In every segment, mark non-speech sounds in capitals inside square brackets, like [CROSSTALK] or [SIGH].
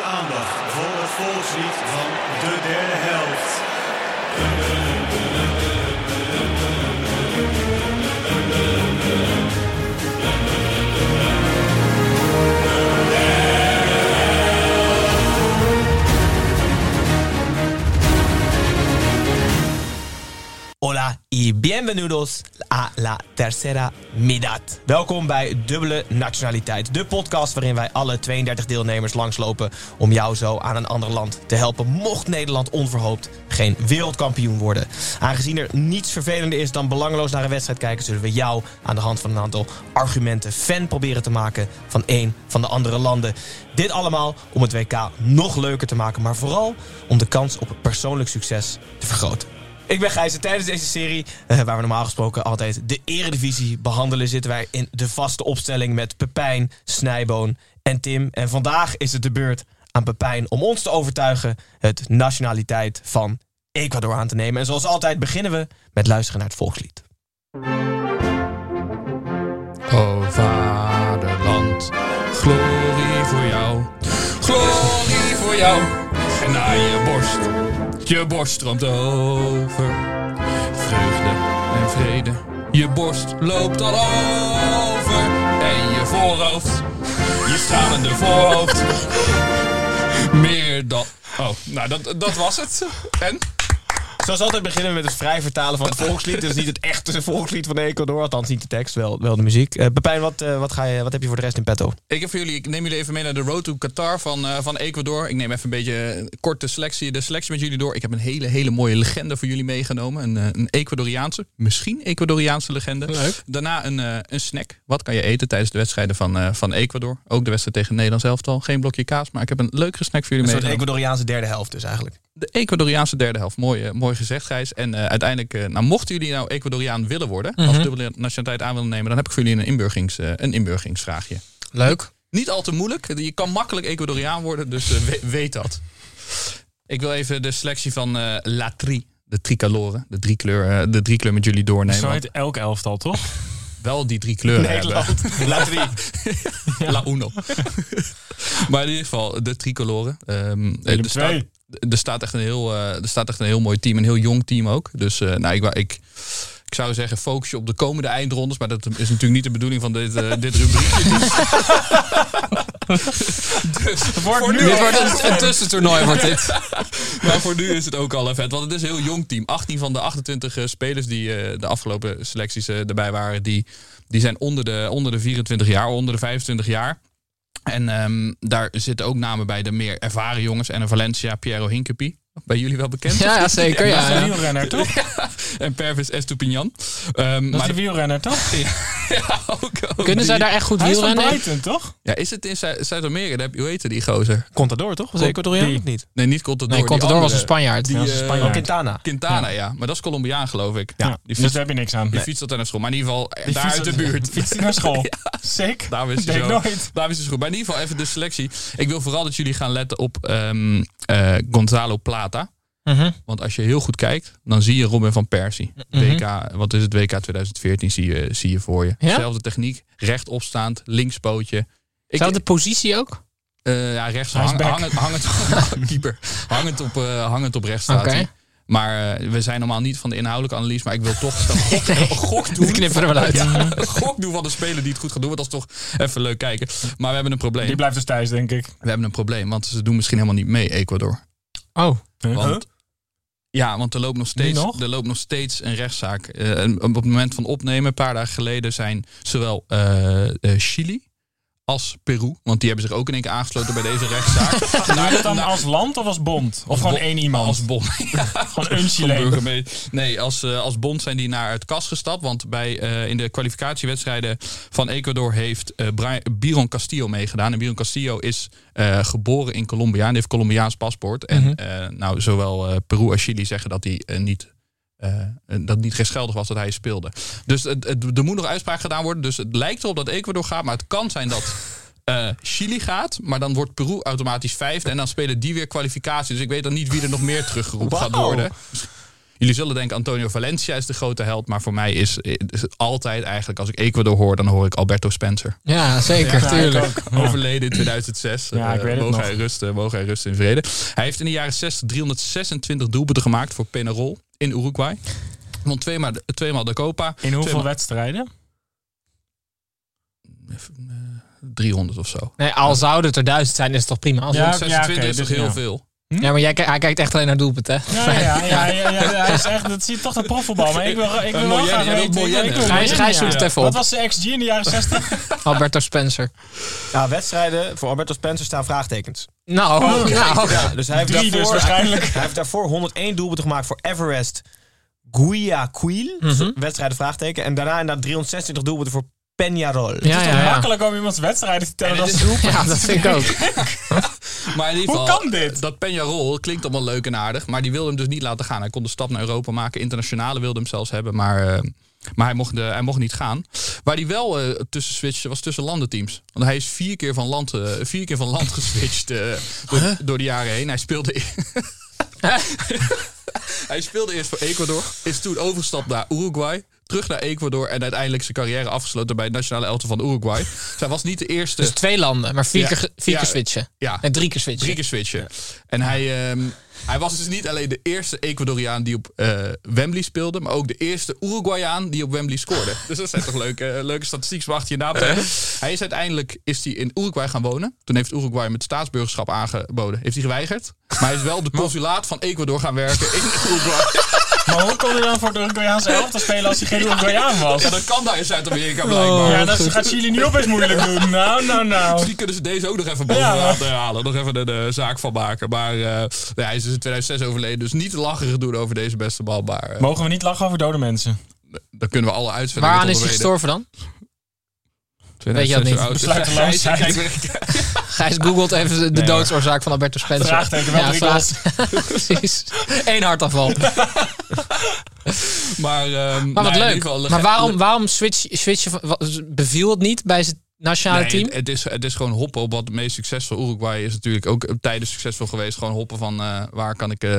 aandacht voor het volkslied van de derde helft. Hola y bienvenidos a la tercera mitad. Welkom bij Dubbele Nationaliteit, de podcast waarin wij alle 32 deelnemers langslopen om jou zo aan een ander land te helpen, mocht Nederland onverhoopt geen wereldkampioen worden. Aangezien er niets vervelender is dan belangeloos naar een wedstrijd kijken, zullen we jou aan de hand van een aantal argumenten fan proberen te maken van één van de andere landen. Dit allemaal om het WK nog leuker te maken, maar vooral om de kans op persoonlijk succes te vergroten. Ik ben Gijs en tijdens deze serie, eh, waar we normaal gesproken altijd de eredivisie behandelen, zitten wij in de vaste opstelling met Pepijn, Snijboon en Tim. En vandaag is het de beurt aan Pepijn om ons te overtuigen het nationaliteit van Ecuador aan te nemen. En zoals altijd beginnen we met luisteren naar het volkslied. O vaderland, glorie voor jou, glorie voor jou. En aan je borst, je borst stroomt over. Vreugde en vrede, je borst loopt al over. En je voorhoofd, je stralende voorhoofd. Meer dan... Oh, nou dat, dat was het. En? Zoals altijd beginnen we met het vrij vertalen van het volkslied. Dus niet het echte volkslied van Ecuador, althans niet de tekst, wel, wel de muziek. Eh, Pepijn, wat, eh, wat, ga je, wat heb je voor de rest in petto? Ik, heb voor jullie, ik neem jullie even mee naar de Road to Qatar van, eh, van Ecuador. Ik neem even een beetje een korte selectie, de selectie met jullie door. Ik heb een hele, hele mooie legende voor jullie meegenomen. Een, eh, een Ecuadoriaanse, misschien Ecuadoriaanse legende. Leuk. Daarna een, eh, een snack. Wat kan je eten tijdens de wedstrijden van, eh, van Ecuador? Ook de wedstrijd tegen Nederland elftal. Geen blokje kaas, maar ik heb een leuke snack voor Een jullie soort meegenomen. Ecuadoriaanse derde helft dus eigenlijk. De Ecuadoriaanse derde helft. Mooi, eh, mooi gezegd, Gijs. En eh, uiteindelijk, eh, nou, mochten jullie nou Ecuadoriaan willen worden, Mhm. als dubbele nationaliteit aan willen nemen, dan heb ik voor jullie een, inburgings, eh, een inburgingsvraagje. Leuk. Niet al te moeilijk. Je kan makkelijk Ecuadoriaan worden, dus eh, we- weet dat. Ik wil even de selectie van eh La Tri, de tricolore, de drie kleur, eh, de drie kleur met jullie doornemen. Zo want heet elk elftal, toch? Wel die drie kleuren hebben. [LAUGHS] Laat wie. La Uno. [LAUGHS] maar in ieder geval, de tricolore. Ehm, eh, Willem er, staat, II. er, staat echt een heel, eh, er staat echt een heel mooi team, een heel jong team ook. Dus eh, nou, ik, wou- ik, ik zou zeggen, focus je op de komende eindrondes. Maar dat is natuurlijk niet de bedoeling van dit, eh, dit rubriekje. Dus, dus voor nu Dit al- wordt een- een tussentoernooi, wordt [LAUGHS] dit. maar voor nu is het ook al vet. Want het is een heel jong team. 18 van de 28 spelers die eh, de afgelopen selecties eh, erbij waren, die, die zijn onder de, onder de 24 jaar, onder de 25 jaar. En ehm, daar zitten ook namen bij de meer ervaren jongens. En een Valencia, Piero Hinkepie. Bij jullie wel bekend. Ja, ja, zeker. Ja, Ja. ja. wielrenner, toch? En Pervis Estupignan. Ehm, Dat is maar die wielrenner, [LAUGHS] toch? ja, ook, ook Kunnen zij die. daar echt goed Hij is van wielrennen? Brighton, toch? Ja, is het in Zu- Zuid-Amerika? Daar heb- Hoe heette die gozer? Contador toch? Was Ecuadoriaan die. of niet? Nee, niet Contador. Nee, die Contador was een andere. Spanjaard. Die, Ja, was een eh, Spanjaard. Quintana. Quintana, ja. Maar dat is Colombiaan, geloof ik. Ja, die dus fietst daar heb je niks aan. Die fietst altijd naar school. Maar in ieder geval, eh, Die daar uit de fietst- buurt. Fietst hij naar [LAUGHS] school? Sick. Daar wist hij Deed zo. nooit. Daar wist hij zo goed. Maar in ieder geval even de selectie. Ik wil vooral dat jullie gaan letten op ehm, eh, Gonzalo Plata. Mhm. Want als je heel goed kijkt, dan zie je Robin van Persie. Mhm. WK, wat is het? WK 2014 zie je, zie je voor je. Ja? Zelfde techniek. Rechtopstaand. Linkspootje. Ik, Zou de positie ook? eh, ja, rechts Hij is hang, back. hangend, hangend, [LAUGHS] keeper. hangend, op, eh, hangend op rechts staat Oké. hij. Maar eh, we zijn normaal niet van de inhoudelijke analyse. Maar ik wil [LAUGHS] toch een gok, een gok doen. Dat knipperen we eruit. Ja, een gok doen van de speler die het goed gaat doen. Want dat is toch even leuk kijken. Maar we hebben een Die probleem. blijft dus thuis, denk ik. We hebben een probleem. Want ze doen misschien helemaal niet mee, Ecuador. Oh, Want, Huh? Ja, want er loopt nog steeds, nog? Er loopt nog steeds een rechtszaak. Eh, en op het moment van opnemen, een paar dagen geleden, zijn zowel eh, eh, Chili als Peru. Want die hebben zich ook in één keer aangesloten bij deze [LAUGHS] rechtszaak. Maar Naar, dat dan als land of als bond? Of gewoon bo- één iemand? Als [LAUGHS] bond. Gewoon een Van Chileen. burgemeester. Nee, als, eh, als bond zijn die naar het kast gestapt. Want bij, eh, in de kwalificatiewedstrijden van Ecuador heeft eh, Bri- Byron Castillo meegedaan. En Byron Castillo is eh, geboren in Colombia en die heeft Colombiaans paspoort. Mhm. En eh, nou, zowel eh, Peru als Chili zeggen dat hij eh, niet. eh, dat het niet rechtsgeldig was dat hij speelde. Dus het, het, er moet nog uitspraak gedaan worden. Dus het lijkt erop dat Ecuador gaat. Maar het kan zijn dat eh, Chili gaat. Maar dan wordt Peru automatisch vijfde. En dan spelen die weer kwalificatie. Dus ik weet dan niet wie er nog meer teruggeroepen gaat worden. Jullie zullen denken Antonio Valencia is de grote held. Maar voor mij is, is het altijd eigenlijk, als ik Ecuador hoor, dan hoor ik Alberto Spencer. Ja, zeker, Ja, tuurlijk. ik ook. Overleden in 2006. Ja, ik Eh, weet het mogen nog. Hij rusten, mogen hij rusten in vrede. Hij heeft in de jaren 60 326 doelpunten gemaakt voor Penarol in Uruguay. Won tweemaal, tweemaal de Copa. In hoeveel Tweemaal- wedstrijden? 300 of zo. Nee, al zouden het er duizend zijn, is het toch prima. Als Ja. ja. 26 oké, is toch dus heel ja. veel. maar jij, ki- hij kijkt echt alleen naar doelpunten. hè? Ja, ja, ja, ja, ja, ja, hij is echt, dat zie je toch een profvoetbal. Maar ik wil, ik wil Een wel moyenne, graag jij wilt weten. ik wil- ik wil moyenne. Gijs- moyenne, Gijs ja. zoekt het even op. Wat was de XG in de jaren 60? [LAUGHS] Alberto Spencer. Ja, wedstrijden voor Alberto Spencer staan vraagtekens. Nou, nou. Ja, dus hij heeft, Drie daarvoor, dus waarschijnlijk. [LAUGHS] hij heeft daarvoor 101 doelpunten gemaakt voor Everest Guayaquil. Mhm. Dus Wedstrijden vraagteken. En daarna inderdaad 326 doelpunten voor Peñarol. Ja, ja, ja. Makkelijk om iemands wedstrijden te tellen. En Dat het is is- ja, dat vind ik ook. Maar in ieder Hoe geval, kan dit? Dat Peñarol klinkt allemaal leuk en aardig. Maar die wilde hem dus niet laten gaan. Hij kon de stap naar Europa maken. Internationale wilde hem zelfs hebben. Maar, eh, maar hij, mocht de, hij mocht niet gaan. Waar hij wel eh, tussen switchte was tussen landenteams. Want hij is vier keer van land, eh, vier keer van land [LAUGHS] geswitcht eh, door, door de jaren heen. Hij speelde... e- [LAUGHS] hij speelde eerst voor Ecuador. Is toen overgestapt naar Uruguay. Terug naar Ecuador. En uiteindelijk zijn carrière afgesloten bij het nationale elftal van Uruguay. Dus hij was niet de eerste... [LAUGHS] Dus twee landen, maar vier, Ja. keer, ge- vier Ja. keer switchen. Ja. En drie keer switchen. Drie keer switchen. En hij, ehm, hij was dus niet alleen de eerste Ecuadoriaan die op eh, Wembley speelde, maar ook de eerste Uruguayaan die op Wembley scoorde. [LAUGHS] dus dat zijn toch leuke, leuke statistieken wacht je na Eh? te hebben. Hij is uiteindelijk is hij in Uruguay gaan wonen. Toen heeft Uruguay met staatsburgerschap aangeboden. Heeft hij geweigerd. Maar hij is wel [LAUGHS] op de consulaat van Ecuador gaan werken in Uruguay. Maar hoe kon hij dan voor de Uruguayaanse elf te spelen [LAUGHS] als hij geen Uruguayan was? ja, Ja, dat kan daar in Zuid-Amerika blijkbaar. Dus dat gaat Chili nu opeens moeilijk doen. Nou, nou, nou. Die kunnen ze deze ook nog even boven Ja. laten halen. Nog even een eh, zaak van maken. Maar eh, nee, hij is dus in 2006 overleden. Dus niet te lacherig doen over deze beste bal. Maar eh, Mogen we niet lachen over dode mensen? Dan kunnen we alle uitzendingen Waaraan tot is hij de reden. gestorven dan? 2006 Weet je dat oud. niet? Besluiteloosheid. Gijs, kijk [LAUGHS] weer. Gijs googelt even de hoor. doodsoorzaak van Alberto Spencer. Vraagteken, wel drie [LAUGHS] Precies. Eén hartafval. Maar, ehm, Maar wat nou, in leuk. ieder geval, maar lege- waarom, waarom switch, switchen? van- wa- Beviel het niet bij zijn nationale Nee, team? Het is, het is gewoon hoppen op wat het meest succesvol. Uruguay is natuurlijk ook eh, tijdens succesvol geweest. Gewoon hoppen van eh, waar, kan ik, eh,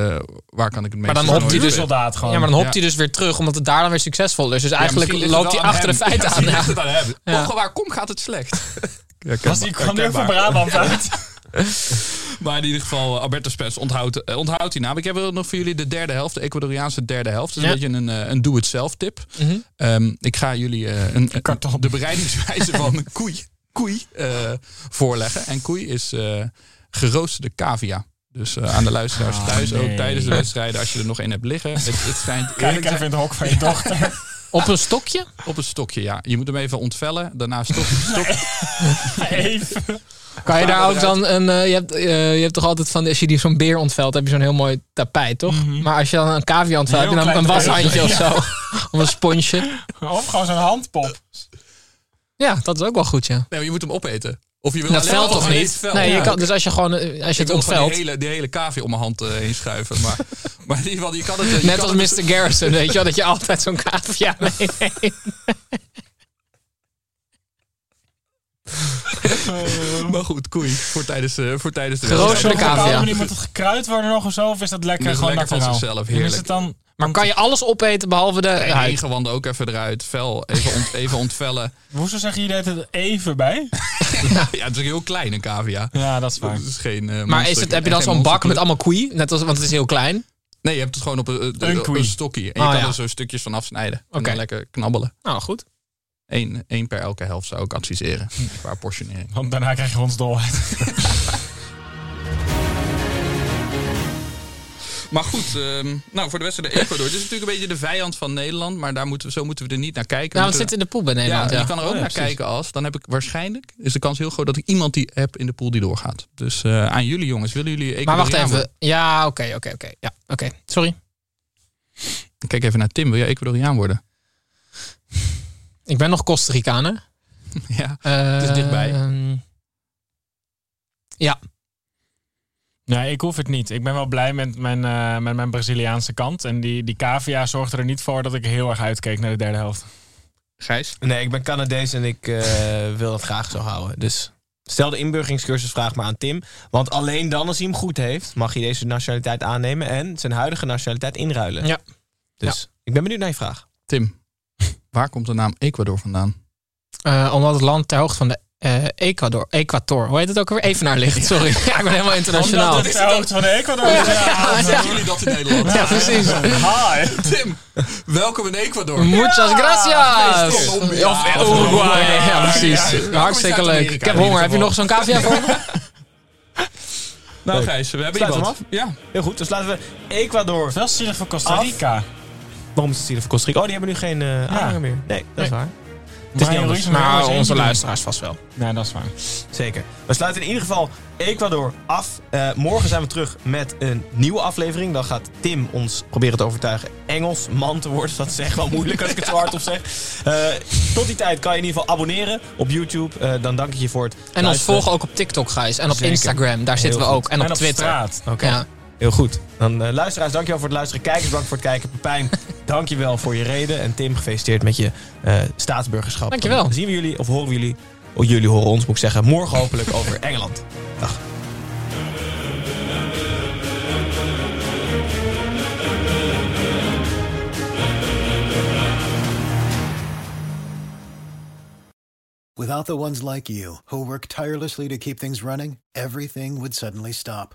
waar kan ik het meest dan toernooi hopt hij spelen. dus Soldaat gewoon. Ja, maar dan hopt ja. hij dus weer terug, omdat het daar dan weer succesvol is. Dus Ja, eigenlijk misschien ligt loopt hij het wel achter de hem. [LAUGHS] feiten Ja, aan. misschien Ja. ligt het aan hem. Ja. Overal waar kom gaat het slecht. Ja, was die kwam nu ook van Brabant uit. Maar in ieder geval, eh, Alberto Spence onthoudt, eh, onthoudt die naam. Ik heb wel nog voor jullie de derde helft, de Ecuadoriaanse derde helft. Dat is een Ja. beetje een, eh, een do-it-self tip. Ehm, ik ga jullie eh, een, een- Karton. de bereidingswijze van koei, koei eh, voorleggen. En koei is eh, geroosterde cavia. Dus eh, aan de luisteraars Ah, thuis ook nee. tijdens de wedstrijden, als je er nog één hebt liggen. Het, het schijnt eerlijk Kijk te zijn- even in het hok van je [LAUGHS] dochter. Op een stokje? op een stokje, ja. Je moet hem even ontvellen, daarna stok, stok, Even. Kan Ja, je daar ook inderdaad. dan een. eh, je, hebt, eh, je hebt toch altijd van. Als je die zo'n beer ontvelt, heb je zo'n heel mooi tapijt, toch? Mhm. Maar als je dan een cavia ontvelt, heb je Heel dan een klein [LAUGHS] washandje of zo. Of een sponsje. Of gewoon zo'n handpop. Ja, dat is ook wel goed, ja. Nee, maar je moet hem opeten. Of je wil Dat alleen- veld oh, toch alleen niet? het veld. Nee, je Ja. kan, dus als je gewoon. eh, Als je Ik het wil gewoon ontvelt. die hele, die hele cavia om mijn hand eh, heen schuiven. [LAUGHS] Maar, maar in ieder geval, je kan het... eh, je Net kan als het- Mr. Garrison, weet je wel, dat je altijd zo'n cavia [LAUGHS] meeneemt. Maar goed, koei. Voor tijdens, eh, voor tijdens de Geroosterde [LAUGHS] wedstrijd. Op een cavia. bepaalde manier moet het gekruid worden nog of zo? Of is dat lekker Nee, gewoon lekker van naturaal? zichzelf, En Is heerlijk. het dan... Maar kan je alles opeten behalve de En huid? ingewanden ook even eruit. Vel, even, ont, even ontvellen. [LAUGHS] Hoezo zeg je hier het even bij? Ja, het is ook heel klein, een cavia. Ja, dat is waar. Het is geen, eh, Maar is monster- het, heb je dan geen zo'n bak met monsterkleur. allemaal koei? Net als, want het is heel klein. Nee, je hebt het gewoon op een, een, Een een, koei. stokje. En je Ah, kan ja. er zo stukjes van afsnijden. En Oké. dan lekker knabbelen. Nou, goed. Eén, één per elke helft zou ik adviseren. Hm. Qua portionering. Want daarna krijg je ons dolheid. Maar goed, ehm, nou, voor de wedstrijd tegen Ecuador. Het is natuurlijk een beetje de vijand van Nederland. Maar daar moeten we, zo moeten we er niet naar kijken. We Nou, het moeten- zit in de pool bij ja, Nederland. en Ja, je kan er ook ja, naar precies. kijken als. Dan heb ik waarschijnlijk. Is de kans heel groot dat ik iemand die heb in de pool die doorgaat. Dus eh, aan jullie jongens, willen jullie. Maar wacht Ecuadoriaan even. Ja, oké, oké, oké. Ja, oké. Sorry. worden? Kijk even naar Tim. Wil jij Ecuadoriaan worden? [LAUGHS] Ik ben nog Costa Ricaner. Ehm, ja. Het is dichtbij. ja, Nee, ik hoef het niet. Ik ben wel blij met mijn, eh, met mijn Braziliaanse kant. En die, die cavia zorgde er niet voor dat ik heel erg uitkeek naar de derde helft. Gijs. Nee, ik ben Canadees en ik eh, wil dat graag zo houden. Dus stel de inburgeringscursusvraag maar aan Tim. Want alleen dan, als hij hem goed heeft, mag hij deze nationaliteit aannemen en zijn huidige nationaliteit inruilen. Ja. Dus ik ben benieuwd naar je vraag. Tim. Waar komt de naam Ecuador vandaan? eh, omdat het land ter hoogte van de eh, Ecuador, Ecuador, hoe heet het ook alweer? Evenaar ligt, sorry. [LAUGHS] Ja, ik ben helemaal Nou, internationaal. Omdat het de hoogte van de Ecuador is. Ja, ja. jullie dat in Nederland? Ja, precies. Hi. Tim, welkom in Ecuador. Muchas gracias. Colombia. Mm, Of Of Uruguay. Uruguay. Ja, precies. Ja, ja. Hartstikke Kom eens uit leuk. Amerika in Ik heb ieder honger. Heb je geval. nog zo'n cavia voor me? [LAUGHS] Nou, Gijs, we hebben Sluit iemand. hem Ja. Heel goed, dus laten we Ecuador. Wel zielig voor Costa Rica. Waarom is het hier voor Costa Rica? Oh, die hebben nu geen eh aanhanger meer. Nee, dat is Nee. waar. Het is niet Mario anders. Ruiz- Nou, Maar onze Ah, luisteraars vast wel. Nee, dat is waar. Zeker. We sluiten in ieder geval Ecuador af. Eh, morgen zijn we terug met een nieuwe aflevering. Dan gaat Tim ons proberen te overtuigen Engels man te worden. Dat is echt wel moeilijk als ik het zo hard op zeg. Eh, tot die tijd kan je in ieder geval abonneren op YouTube. Eh, dan dank ik je voor het En ons luisteren. volgen ook op TikTok, Gijs. En op Zeker. Instagram. Daar zitten we Heel ook. En op en op Twitter. straat. Oké, Ja. heel goed. Dan eh, luisteraars, dankjewel voor het luisteren. Kijkers, dank voor het kijken. [LAUGHS] Pepijn, dankjewel voor je reden. En Tim, gefeliciteerd met je eh staatsburgerschap. Dankjewel. Dan zien we jullie, of horen we jullie... Oh, jullie horen ons, moet ik zeggen. Morgen hopelijk over Engeland. Dag. Without the ones like you, who work tirelessly to keep things running, everything would suddenly stop.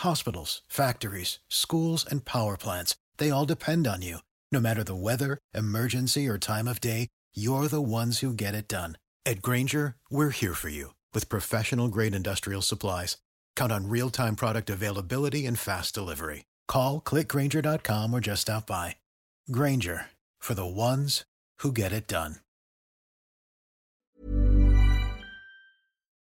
Hospitals, factories, schools, and power plants, they all depend on you. No matter the weather, emergency, or time of day, you're the ones who get it done. At Granger, we're here for you with professional grade industrial supplies. Count on real time product availability and fast delivery. Call clickgranger.com or just stop by. Granger for the ones who get it done.